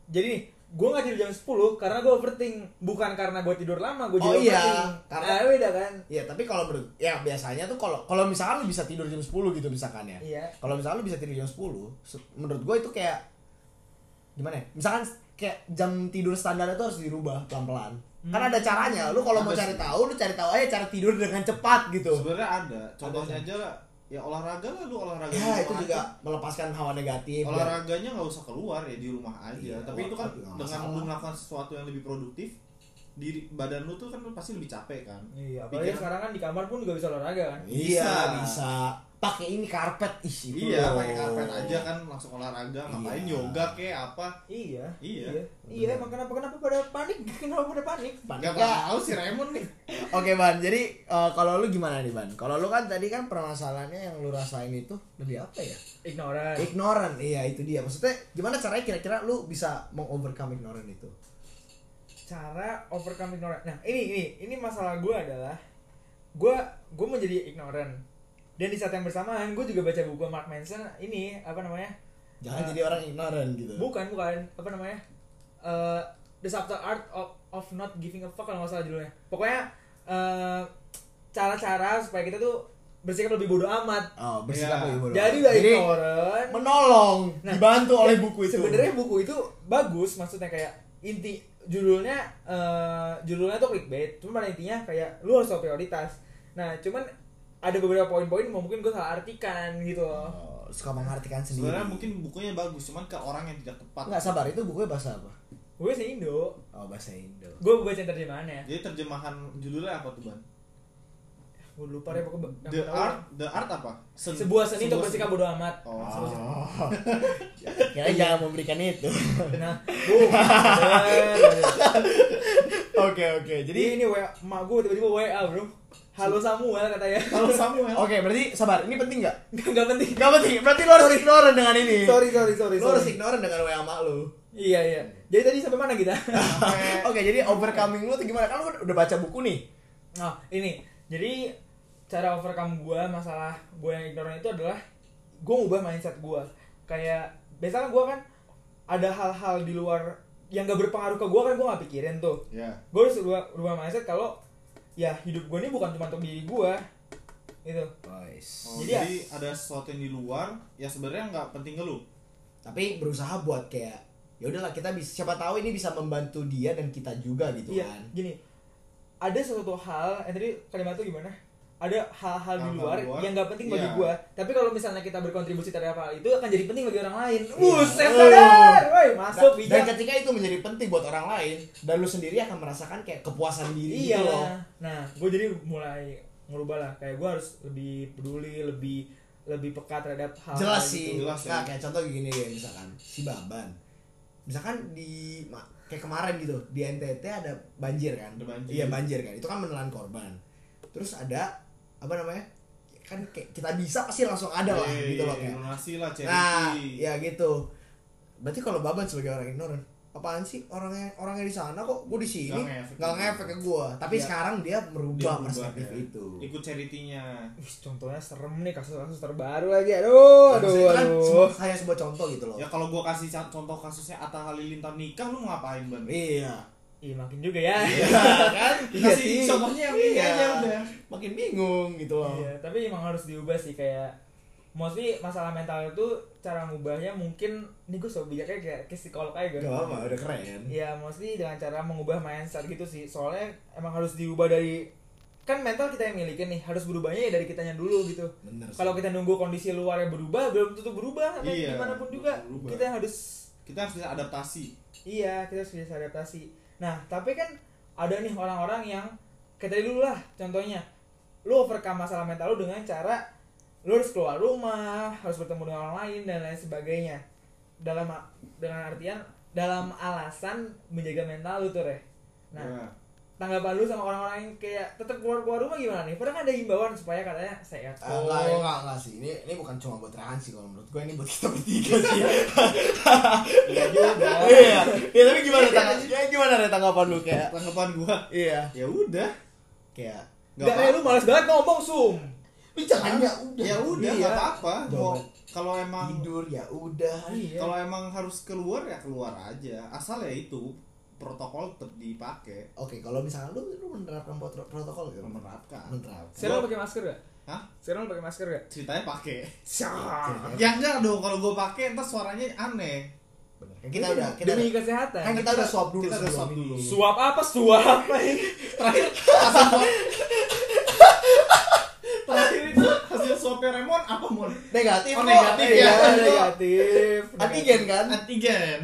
C: jadi nih gue nggak tidur jam 10 karena gue overthink bukan karena gue tidur lama gue
A: Oh
C: jadi
A: iya,
C: overthink
A: karena-
C: Nah, beda kan
A: Ya, tapi kalau menurut ya biasanya tuh kalau kalau misalkan lu bisa tidur jam 10 gitu misalkan ya.
C: Iya.
A: Kalau misalkan lu bisa tidur jam 10, se- menurut gue itu kayak gimana ya? Misalkan kayak jam tidur standar itu harus dirubah pelan-pelan. Kan ada caranya. Lu kalau mau
B: Hmm. Ada
A: cari
B: sih.
A: tahu, lu cari tahu aja cara tidur dengan cepat gitu.
B: Sebenarnya ada. Contohnya aja lah. Ya olahraga lah lu olahraga. di
A: Ya, itu
B: rumah aja.
A: juga melepaskan hawa negatif. biar-
B: olahraganya nggak usah keluar ya di rumah aja
A: Iya,
B: tapi itu kan
A: tapi nggak
B: dengan
A: masalah.
B: lu melakukan sesuatu yang lebih produktif diri badan lu tuh kan lu pasti lebih capek kan
C: iya apalagi
B: Pikiran-
C: sekarang kan di kamar pun gak bisa olahraga kan
A: Iya,
B: Bisa.
A: bisa. Pakai ini karpet ih itu
B: iya
A: loh.
B: pakai karpet aja kan langsung olahraga ngapain
A: Iya.
B: yoga kek apa
C: iya
B: Iya.
C: iya, iya emang kenapa kenapa pada panik [laughs] kenapa pada panik
A: Panik
B: nggak
A: nggak?
B: tahu si Raymond nih
A: [laughs] Oke Ban, jadi eh, kalau lu gimana nih Ban? Kalau lu kan tadi kan permasalahannya yang lu rasain itu lebih apa ya?
C: ignoran
A: Ignoran, iya itu dia. Maksudnya gimana caranya kira-kira lu bisa mengovercome ignoran itu?
C: cara overcome ignorant. Nah, ini ini ini masalah gue adalah gue gue menjadi ignorant dan di saat yang bersamaan gue juga baca buku Mark Manson ini apa namanya
A: Jangan
C: Eh,
A: jadi orang ignoran gitu.
C: bukan bukan apa namanya Eh The Subtle Art of, of Not Giving a Fuck kalau nggak salah judulnya pokoknya eh, cara-cara supaya kita tuh bersikap lebih bodoh amat
A: Oh, bersikap
B: Iya.
A: lebih bodoh.
C: jadi udah
A: Jadi,
C: ignorant
A: menolong,
C: Nah,
A: dibantu oleh buku itu.
C: sebenarnya buku itu bagus maksudnya kayak inti judulnya eh, judulnya tuh clickbait cuma pada intinya kayak lu harus tahu prioritas nah cuman ada beberapa poin-poin mau mungkin gue salah artikan gitu loh
A: Oh, suka mengartikan sendiri.
B: Sebenarnya mungkin bukunya bagus, cuman ke orang yang tidak tepat.
A: Enggak sabar, itu bukunya bahasa apa?
C: gue sih indo
A: Oh, bahasa Indo. [laughs]
C: gue baca ya. terjemahannya
B: Jadi terjemahan judulnya apa tuh, Ban?
C: gue lupa deh pokoknya yang
B: The
C: pertama.
B: art, the art apa? Sen-
C: sebuah seni untuk bersikap
B: seni.
C: bodoh amat
B: Oh.
A: Oh. Kira jangan memberikan itu.
C: nah bukan.
A: [laughs] Oke, oke.
C: jadi
A: Jadi
C: ini wa emak gue tiba-tiba wa bro halo Samuel [laughs] katanya
B: Kalau Samuel.
A: Oke, berarti sabar. Ini penting [laughs] nggak?
C: nggak nggak penting
A: Gak penting. Berarti lo harus ignoran dengan ini.
C: sorry sorry sorry,
A: Lo harus
C: sorry.
A: ignoran dengan WA mak lo.
C: iya iya jadi tadi sampai mana [laughs] kita
A: Oke, jadi overcoming lo tuh gimana? Kan lo udah baca buku nih.
C: Nah, ini. Jadi cara overcome gue masalah gue yang ignoran itu adalah gue ngubah mindset gue. Kayak biasanya gue kan ada hal-hal di luar yang gak berpengaruh ke gue kan gue gak pikirin tuh.
B: Ya.
C: Gue harus ubah, ubah mindset kalau ya hidup gue ini bukan cuma untuk diri gue. Gitu.
A: Boys.
B: Oh,
C: Jadi ya-
B: jadi ada sesuatu yang di luar yang sebenarnya nggak penting ke lu.
A: Tapi berusaha buat kayak ya udahlah kita bisa siapa tahu ini bisa membantu dia dan kita juga gitu
C: Iya,
A: kan.
C: gini. Ada suatu hal, eh tadi kalimat tuh gimana? Ada hal-hal
B: Hal-hal
C: di luar
B: luar,
C: yang gak penting bagi
B: iya.
C: gua. Tapi kalau misalnya kita berkontribusi terhadap hal itu akan jadi penting bagi orang lain.
A: Iya.
C: Buset,
A: Eh.
C: sadar. Woi, masuk
A: Dan, dan
C: bijak.
A: ketika itu menjadi penting buat orang lain dan lu sendiri akan merasakan kayak kepuasan diri gitu
C: Iya
A: loh.
C: Nah, gue jadi mulai ngerubah lah. Kayak gue harus lebih peduli, lebih lebih peka terhadap hal
A: jelas sih
B: gitu. Jelas,
A: nah
B: ya.
A: kayak contoh gini deh misalkan si Baban misalkan di ma- kayak kemarin gitu di NTT ada banjir kan
B: Ada banjir.
A: iya banjir kan itu kan menelan korban terus ada apa namanya kan kayak kita bisa pasti langsung ada lah
B: Eh,
A: gitu loh kayak
B: Donasi lah, charity.
A: nah ya gitu berarti kalau Baban sebagai orang ignoran apaan sih orangnya orangnya di sana kok gue di sini
B: Nggak ngefek.
A: nggak ngefek ke gue tapi
C: Iya.
A: sekarang dia
B: Dia
A: merubah
B: berubah,
A: perspektif
B: ya.
A: itu
B: Ikut charity-nya.
C: Wih, contohnya serem nih kasus-kasus terbaru lagi.
A: Maksudnya
C: Aduh, aduh,
A: itu kan
C: aduh.
A: sebuah- hanya sebuah contoh gitu loh
B: Ya kalau gua kasih ca- contoh kasusnya Atta Halilintar nikah lu mau ngapain, Ban? [laughs]
A: iya
C: Ih, makin juga ya.
A: kan
B: Dikasih Iya contohnya
A: Iya
B: yang ini ya. aja udah.
A: makin bingung gitu loh
C: Iya, tapi emang harus diubah sih kayak mostly masalah mental itu cara ngubahnya mungkin ini gue soal bijaknya kayak ke psikolog aja
A: gak
C: gitu.
A: apa udah keren
C: Iya, mostly dengan cara mengubah mindset gitu sih. Soalnya emang harus diubah dari kan mental kita yang milikin nih, harus berubahnya ya dari kitanya dulu gitu.
A: bener sih.
C: Kalau kita nunggu kondisi luar yang berubah, belum tentu berubah sampai
B: Iya,
C: gimana pun
B: belum
C: juga.
B: tentu berubah.
C: Kita harus
B: Kita harus bisa adaptasi.
C: Iya, kita harus bisa adaptasi. Nah, tapi kan ada nih orang-orang yang kayak tadi dulu lah contohnya. Lu overcome masalah mental lu dengan cara lu harus keluar rumah, harus bertemu dengan orang lain dan lain sebagainya. Dalam dengan artian dalam alasan menjaga mental lu tuh, Reh. Nah,
B: Ya.
C: tanggapan lu sama orang-orang yang kayak tetap keluar-keluar rumah gimana nih? Pernah nggak ada himbauan supaya katanya sehat?
A: Ah, enggak,
C: Oh,
A: enggak, enggak sih. Ini ini bukan cuma buat Rehan sih kalau menurut gue ini buat kita bertiga sih.
C: Oh.
B: Iya juga.
A: [laughs] Iya. Ya tapi gimana tanggapan? Ya gimana Re, tanggapan lu kayak?
B: Nah, Tanggapan gua,
A: Iya.
B: ya udah.
A: Kayak
C: Nggak, Reh, lu males banget ngomong, Sum.
A: lu jangan ya udah.
B: Ya udah
C: Iya.
B: nggak apa-apa. Mau
A: Jangan.
B: kalau emang
A: Tidur ya udah.
C: Iya.
B: kalau emang harus keluar ya keluar aja. Asal ya itu protokol tetap dipakai.
A: Oke, kalau misalkan lu lu menerapkan prot- protokol gitu.
B: Menerapkan.
A: Menerapkan.
C: Sekarang lu pakai masker gak?
B: Hah?
C: Sekarang lu pakai masker gak?
B: Ceritanya pakai.
C: Syah.
B: Ya enggak dong kalau gua pakai entar suaranya aneh.
A: Bener. Kan kita
C: Itu
A: udah kita
C: Iya, demi
A: udah-
C: kesehatan.
A: kan kita udah swab dulu
B: Iya, Kita udah
A: sebelum
B: swab
A: ini.
B: dulu.
C: Suap apa suap?
A: [laughs]
B: Terakhir hasil swab- Terakhir itu hasil swabnya Remon apa mon?
A: Negatif.
B: Oh,
A: kok.
B: negatif ya.
A: Iya,
B: Oh,
A: negatif.
C: negatif.
A: Antigen kan?
B: Antigen.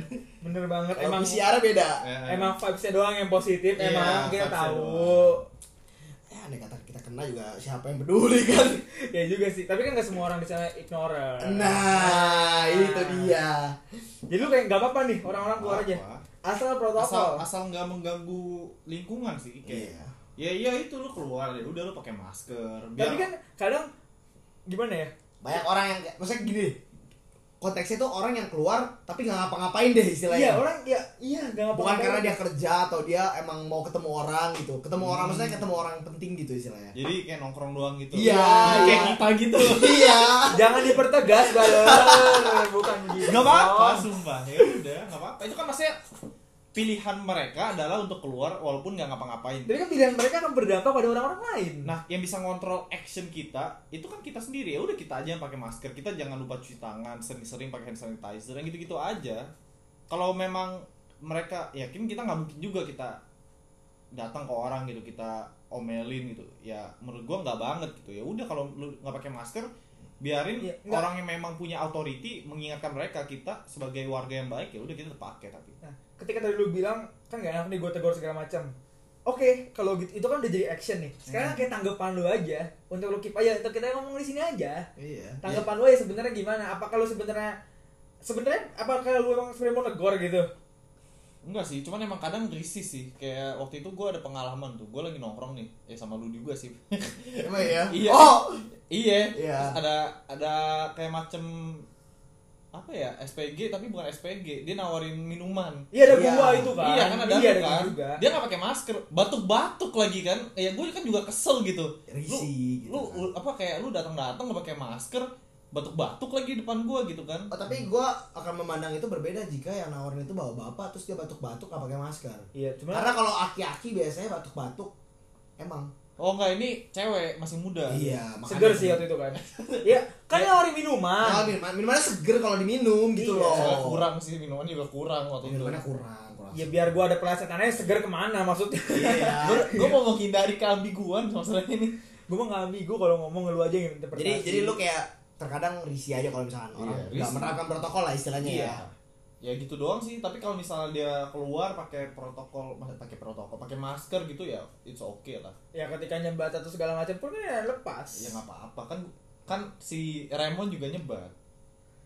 C: Bener banget
A: Kalau
C: emang
A: PCR beda.
B: Eh,
C: emang vibes-nya doang yang positif
B: Iya,
C: emang kita
B: vibes-nya
C: tahu.
A: ya andai kata kita kena juga siapa yang peduli kan
C: Ya juga sih, tapi kan gak semua orang di sana ignorer.
A: nah itu dia
C: Jadi lu kayak gak apa-apa nih orang-orang keluar aja.
B: Apa? asal
C: Asal protokol.
B: asal nggak mengganggu lingkungan sih kayak
A: Iya.
B: ya iya itu lu keluar ya udah lu pakai masker biar
C: Tapi kan kadang gimana ya?
A: banyak orang yang kayak- maksudnya gini konteksnya tuh orang yang keluar tapi nggak ngapa-ngapain deh istilahnya
C: Iya orang ya iya nggak apa-apa.
A: bukan karena dia kerja atau dia emang mau ketemu orang gitu ketemu orang maksudnya ketemu orang penting gitu
B: [laughs]
A: istilahnya
B: jadi kayak nongkrong doang gitu
A: Iya,
B: kayak
A: iya.
B: kita gitu
A: iya
C: Jangan dipertegas baler bukan gitu.
B: Gak apa-apa, sumpah ya udah gak apa-apa itu kan maksudnya pilihan mereka adalah untuk keluar walaupun nggak ngapa-ngapain
C: Tapi kan pilihan mereka akan berdampak pada orang-orang lain.
B: Nah, yang bisa ngontrol action kita itu kan kita sendiri. Ya udah kita aja yang pakai masker. Kita jangan lupa cuci tangan, sering-sering pakai hand sanitizer, yang gitu-gitu aja. Kalau memang mereka yakin kita nggak mungkin juga kita datang ke orang gitu kita omelin gitu. Ya menurut gua nggak banget gitu. Ya udah kalau lu nggak pakai masker biarin
C: Iya, nggak.
B: orang yang memang punya authority mengingatkan mereka kita sebagai warga yang baik ya udah kita pakai tapi
C: Nah, ketika tadi lu bilang kan gak enak nih gue tegur segala macam. Oke, kalau gitu itu kan udah jadi action nih. Sekarang kayak tanggapan lu aja untuk lu keep aja, untuk kita ngomong di sini aja.
A: iya
C: Tanggapan lu ya sebenarnya gimana? Apakah lu sebenarnya sebenarnya apakah lu emang sebenarnya mau negor gitu?
B: Enggak sih, cuman emang kadang risih sih Kayak waktu itu gua ada pengalaman tuh Gua lagi nongkrong nih, ya sama lu juga sih [laughs]
A: emang ya
B: Iya.
A: oh
B: Iya.
A: Iya.
B: Terus ada ada kayak macem apa ya SPG tapi bukan SPG dia nawarin minuman.
C: Iya ada
A: Iya.
C: gua itu kan.
B: Iya kan ada
C: iya,
B: lu
C: ada
B: kan.
C: gua juga.
B: Dia nggak pakai masker, batuk-batuk lagi kan. Ya gue kan juga kesel gitu.
A: Risih gitu
B: lu,
A: kan.
B: lu apa kayak lu datang-datang nggak pakai masker, batuk-batuk lagi di depan gua gitu kan.
A: Oh, tapi gua akan memandang itu berbeda jika yang nawarin itu bawa bapak terus dia batuk-batuk nggak pakai masker
C: Iya, cuma
A: karena kalau aki-aki biasanya batuk-batuk emang
B: Oh enggak ini cewek masih muda.
A: iya
C: seger sih waktu itu kan. Iya, kan nawarin minuman.
A: Kalau minuman, minumannya "Ah, seger kalau diminum gitu
C: Iya.
A: loh.
B: Soalnya
A: Iya,
B: kurang sih minuman juga kurang waktu itu.
A: Minumannya kurang, kurang.
C: Ya biar gua ada pelasatannya seger kemana maksudnya.
B: [laughs]
A: Iya.
B: Gue gue mau menghindari keambiguan masalahnya ini.
C: [laughs] gua mah nggak ambigu kalau ngomong lu aja yang interpretasi.
A: jadi jadi lu kayak terkadang risih aja kalau misalkan orang
B: Iya,
A: nggak
B: risih.
A: menerapkan protokol lah istilahnya
B: Iya.
A: ya.
B: Ya gitu doang sih, tapi kalau misalnya dia keluar pakai protokol, masa pakai protokol, pakai masker gitu ya, it's okay lah.
C: ya ketika nyembat atau segala macam pun kan ya lepas.
B: Ya nggak apa-apa kan kan si Raymond juga nyebat.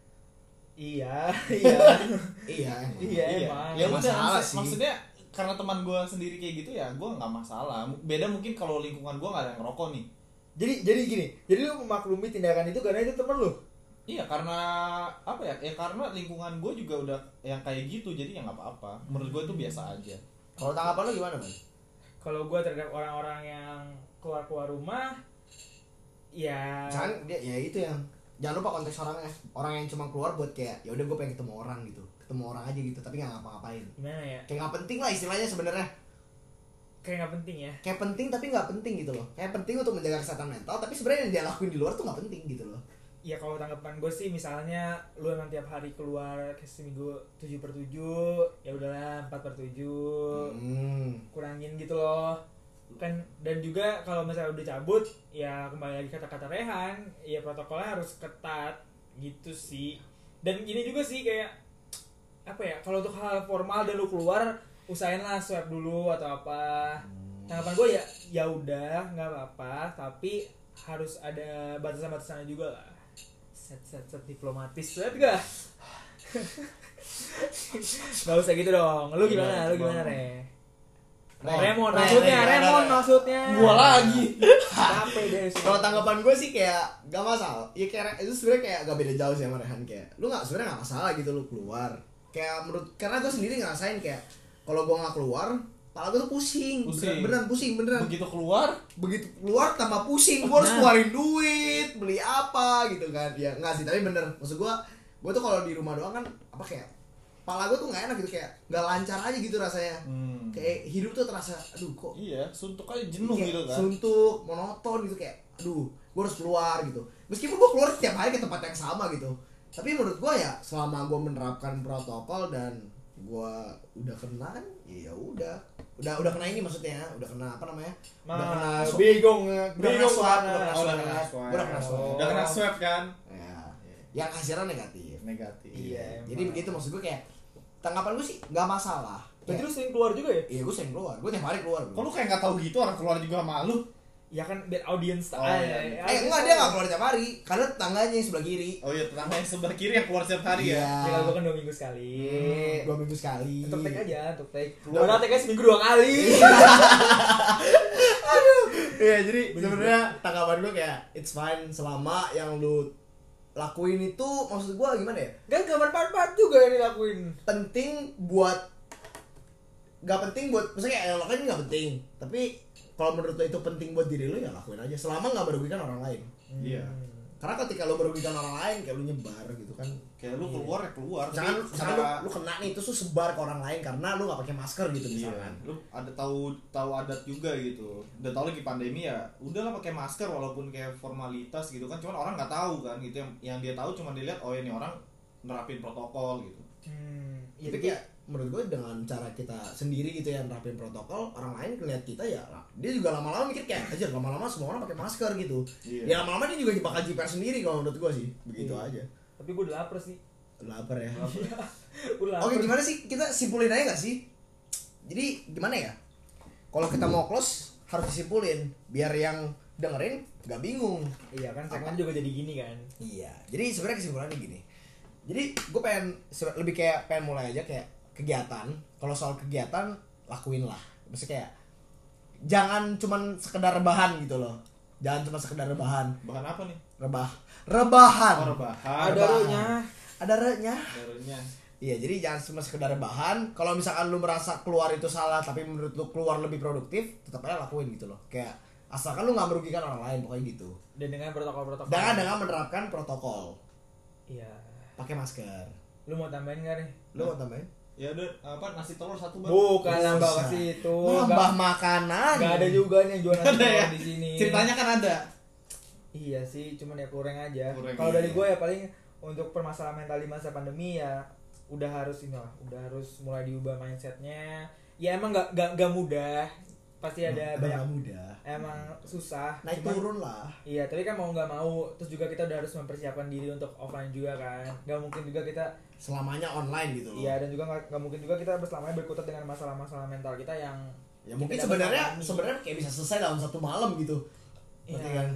C: [laughs] Iya, iya.
A: Iya. emang.
C: Iya. emang.
B: Ya
A: Nggak
B: udah,
A: masalah
B: maksud-
A: sih.
B: maksudnya karena teman gue sendiri kayak gitu ya, gue nggak masalah. M- Beda mungkin kalau lingkungan gue nggak ada yang ngerokok nih.
C: jadi jadi gini, jadi lu memaklumi tindakan itu karena itu temen lu.
B: Iya karena apa ya? Ya karena lingkungan gue juga udah yang kayak gitu, jadi ya nggak apa-apa. Menurut gue itu biasa aja.
A: Kalau tanggapan lu gimana, Bang?
C: Kalau gua terhadap orang-orang yang keluar-keluar rumah ya
A: Jangan dia ya itu yang jangan lupa konteks orangnya. Orang yang cuma keluar buat kayak ya udah gue pengen ketemu orang gitu. Ketemu orang aja gitu, tapi nggak ngapa-ngapain.
C: gimana ya?
A: Kayak nggak penting lah istilahnya sebenarnya.
C: Kayak nggak penting ya.
A: Kayak penting tapi nggak penting gitu loh. Kayak penting untuk menjaga kesehatan mental, tapi sebenarnya yang dia lakuin di luar tuh nggak penting gitu loh.
C: Ya kalau tanggapan gue sih misalnya lu emang tiap hari keluar ke seminggu 7 per 7 ya udahlah 4 per 7
A: Hmm.
C: kurangin gitu loh kan dan juga kalau misalnya udah cabut ya kembali lagi kata-kata Rehan ya protokolnya harus ketat gitu sih dan gini juga sih kayak apa ya kalau untuk hal formal dan lu keluar usahainlah swab dulu atau apa tanggapan gue ya ya udah nggak apa-apa tapi harus ada batasan-batasannya juga lah set set set diplomatis set gak [laughs] nggak usah gitu dong lu gimana lu gimana re Remon
B: Nah,
C: maksudnya, Remon maksudnya.
B: Gua lagi.
C: Capek deh.
A: Kalau tanggapan gue sih kayak gak masalah. Ya kayak itu sebenarnya kayak gak beda jauh sih sama Rehan kayak. Lu nggak sebenarnya gak masalah gitu lu keluar. Kayak menurut karena gue sendiri ngerasain kayak kalau gue nggak keluar, kepala gue tuh pusing. Beneran,
B: Pusing.
A: beneran pusing beneran.
B: Begitu keluar,
A: Begitu keluar tambah pusing, gue
B: Nah.
A: harus keluarin duit, beli apa gitu kan. Ya nggak sih, tapi bener. Maksud gue, gue tuh kalau di rumah doang kan apa kayak kepala gue tuh nggak enak gitu kayak nggak lancar aja gitu rasanya.
B: Hmm.
A: Kayak hidup tuh terasa aduh kok
B: iya suntuk aja jenuh
A: kayak
B: gitu kan.
A: suntuk monoton gitu kayak aduh gue harus keluar gitu meskipun gue keluar setiap hari ke tempat yang sama gitu tapi menurut gue ya selama gue menerapkan protokol dan gue udah kena kan ya ya udah udah udah kena ini maksudnya udah kena apa namanya
B: Nah,
A: udah kena
C: Mah,
A: su-
C: bingung,
A: udah kena
C: bingung
A: swab
C: mana.
A: udah kena
B: Oh,
A: swab udah
B: udah kena
C: swab.
A: kena swab
B: Udah kena swab kan?
A: ya yang hasilnya negatif
B: Negatif.
C: Iya,
A: jadi
C: emang.
A: begitu maksud gue kayak tanggapan gue sih nggak masalah Kayak,
C: Berarti lu sering keluar juga ya?
A: iya gue sering keluar gue tiap hari keluar
B: Kok lu kayak nggak tahu gitu orang keluar juga malu?
C: Ya kan biar audience
B: Oh, iya,
C: ah, ya,
B: iya.
C: ya,
A: eh
C: audience
A: enggak dia
C: tahu.
A: nggak keluar tiap hari karena tetangganya yang sebelah kiri
B: Oh iya, tetangga yang sebelah kiri yang keluar setiap hari
A: Iya.
B: ya.
C: Ya kalau gua kan dua minggu sekali.
A: Hmm, dua minggu sekali
C: Untuk take aja, untuk take.
B: Keluar.
C: Keluar take seminggu dua kali.
A: Iya jadi sebenarnya tanggapan gue kayak it's fine selama yang lu lakuin itu maksud gue gimana ya
C: Kan gak bermanfaat juga yang dilakuin.
A: penting buat nggak penting buat maksudnya kayak lakuin nggak penting tapi kalau menurut lo itu penting buat diri lo ya lakuin aja selama nggak merugikan orang lain
B: Iya.
A: karena ketika lo merugikan orang lain kayak lo nyebar gitu kan
B: Kayak lu keluar ya keluar.
A: jangan
B: Tapi
A: jangan
B: secara-
A: lo, lo kena nih terus lo sebar ke orang lain karena lo nggak pakai masker gitu
B: Iya,
A: misalkan
B: lu ada tahu tahu adat juga gitu. Dan tahu lagi pandemi ya, udahlah pakai masker walaupun kayak formalitas gitu kan. Cuman orang nggak tahu kan gitu. Yang, yang dia tahu cuma dilihat oh ini orang nerapin protokol gitu.
C: Hmm,
A: Tapi kayak menurut gue dengan cara kita sendiri gitu ya nerapin protokol orang lain ngeliat kita ya dia juga lama-lama mikir kayak aja lama-lama semua orang pakai masker gitu
B: Iya.
A: ya lama-lama dia juga bakal jiper sendiri kalau menurut gue sih begitu
C: Iya.
A: aja
C: Tapi gue udah lapar sih.
A: lapar ya
C: Gue lapar.
A: oke gimana sih kita simpulin aja gak sih jadi gimana ya kalau kita mau close harus disimpulin biar yang dengerin nggak bingung
C: Iya kan segmen juga jadi gini kan.
A: Iya. Jadi sebenarnya kesimpulannya gini. Jadi gue pengen sebe- lebih kayak pengen mulai aja kayak kegiatan. Kalau soal kegiatan lakuin lah. Maksudnya kayak jangan cuman sekedar rebahan gitu loh. Jangan cuma sekedar rebahan.
B: Bahan apa nih?
A: Rebah. Rebahan.
B: Oh, rebahan.
C: Ada
A: Rebahan.
C: rohnya.
A: Ada re-nya.
B: Darunya.
A: Iya, jadi jangan cuma sekedar rebahan. Kalau misalkan lu merasa keluar itu salah, tapi menurut lu keluar lebih produktif, tetap aja lakuin gitu loh. Kayak asalkan lu nggak merugikan orang lain pokoknya gitu.
C: Dan dengan protokol-protokol.
A: Dengan dengan menerapkan protokol,
C: Iya.
A: pakai masker.
C: Lu mau tambahin gak nih?
A: Lu mau tambahin?
B: Ya udah apa nasi telur satu bang.
C: Bukan nambah
A: Susah.
C: ke situ.
A: Nambah makanan.
C: Gak Oh, ada juga nih yang jualan
B: Ada ya.
C: di sini.
B: Ceritanya kan ada.
C: Iya sih, cuman ya kurang aja.
B: Kurang,
C: Kalau dari
B: iya.
C: gue ya paling untuk permasalahan mental di masa pandemi ya udah harus ini lah, udah harus mulai diubah mindsetnya. Ya emang gak gak, gak mudah, pasti ya, ada Nah,
A: Emang
C: banyak
A: nggak mudah.
C: emang susah.
A: Naik
C: Cuman-
A: turun lah.
C: Iya, tapi kan mau nggak mau, terus juga kita udah harus mempersiapkan diri untuk offline juga kan. Gak mungkin juga kita,
A: Selamanya online gitu loh.
C: iya dan juga gak, gak mungkin juga kita berselamanya berkutat dengan masalah-masalah mental kita yang
A: Ya mungkin
C: kita
A: sebenarnya
C: dapat alami.
A: sebenarnya kayak bisa selesai dalam satu malam gitu. Berarti
C: Iya.
A: kan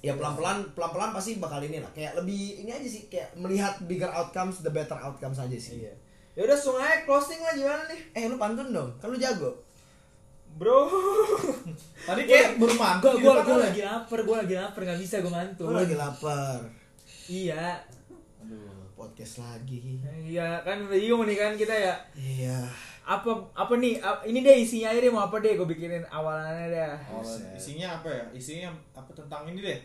A: ya pelan-pelan pelan-pelan pasti bakal ini lah kayak lebih ini aja sih kayak melihat bigger outcomes the better outcomes aja sih.
C: Iya. Ya udah sungai closing lah gimana nih?
A: Eh lu pantun dong, kan lu jago.
C: Bro. [laughs]
B: Tadi kayak Iya, baru
C: Gue
B: manggung.
C: gua, Iya, gua lagi lapar, gue lagi lapar, nggak bisa gue ngantuk.
A: Lu lagi lapar.
C: Iya.
B: Aduh.
A: Podcast lagi.
C: Iya, kan bingung nih kan kita ya.
A: Iya.
C: Apa apa nih? ap- ini deh isinya aja deh mau apa deh gue bikinin awalannya deh.
B: Oh,
A: Buset.
B: isinya apa ya? Isinya apa tentang ini deh?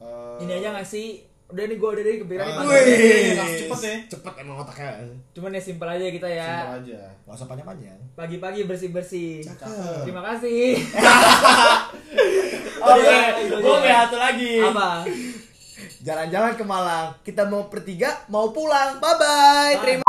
B: Eh,
C: Ini aja nggak ya? sih? Udah nih gue udah deh
A: Oh,
C: kepikiran
B: Ah.
C: nih, Bang.
A: iya.
B: Wih.
A: Wih,
B: cepet ya.
A: Cepet emang otaknya.
C: Cuman ya simpel aja kita ya.
B: Simpel aja.
A: Gak usah panjang-panjang.
C: Pagi-pagi bersih-bersih.
A: Cakep.
C: Terima kasih.
A: Oke,
C: Itu
A: gue
C: aja.
A: kayak iya. satu lagi.
C: Apa?
A: Jalan-jalan ke Malang, kita mau pertiga, mau pulang. Bye bye. Terima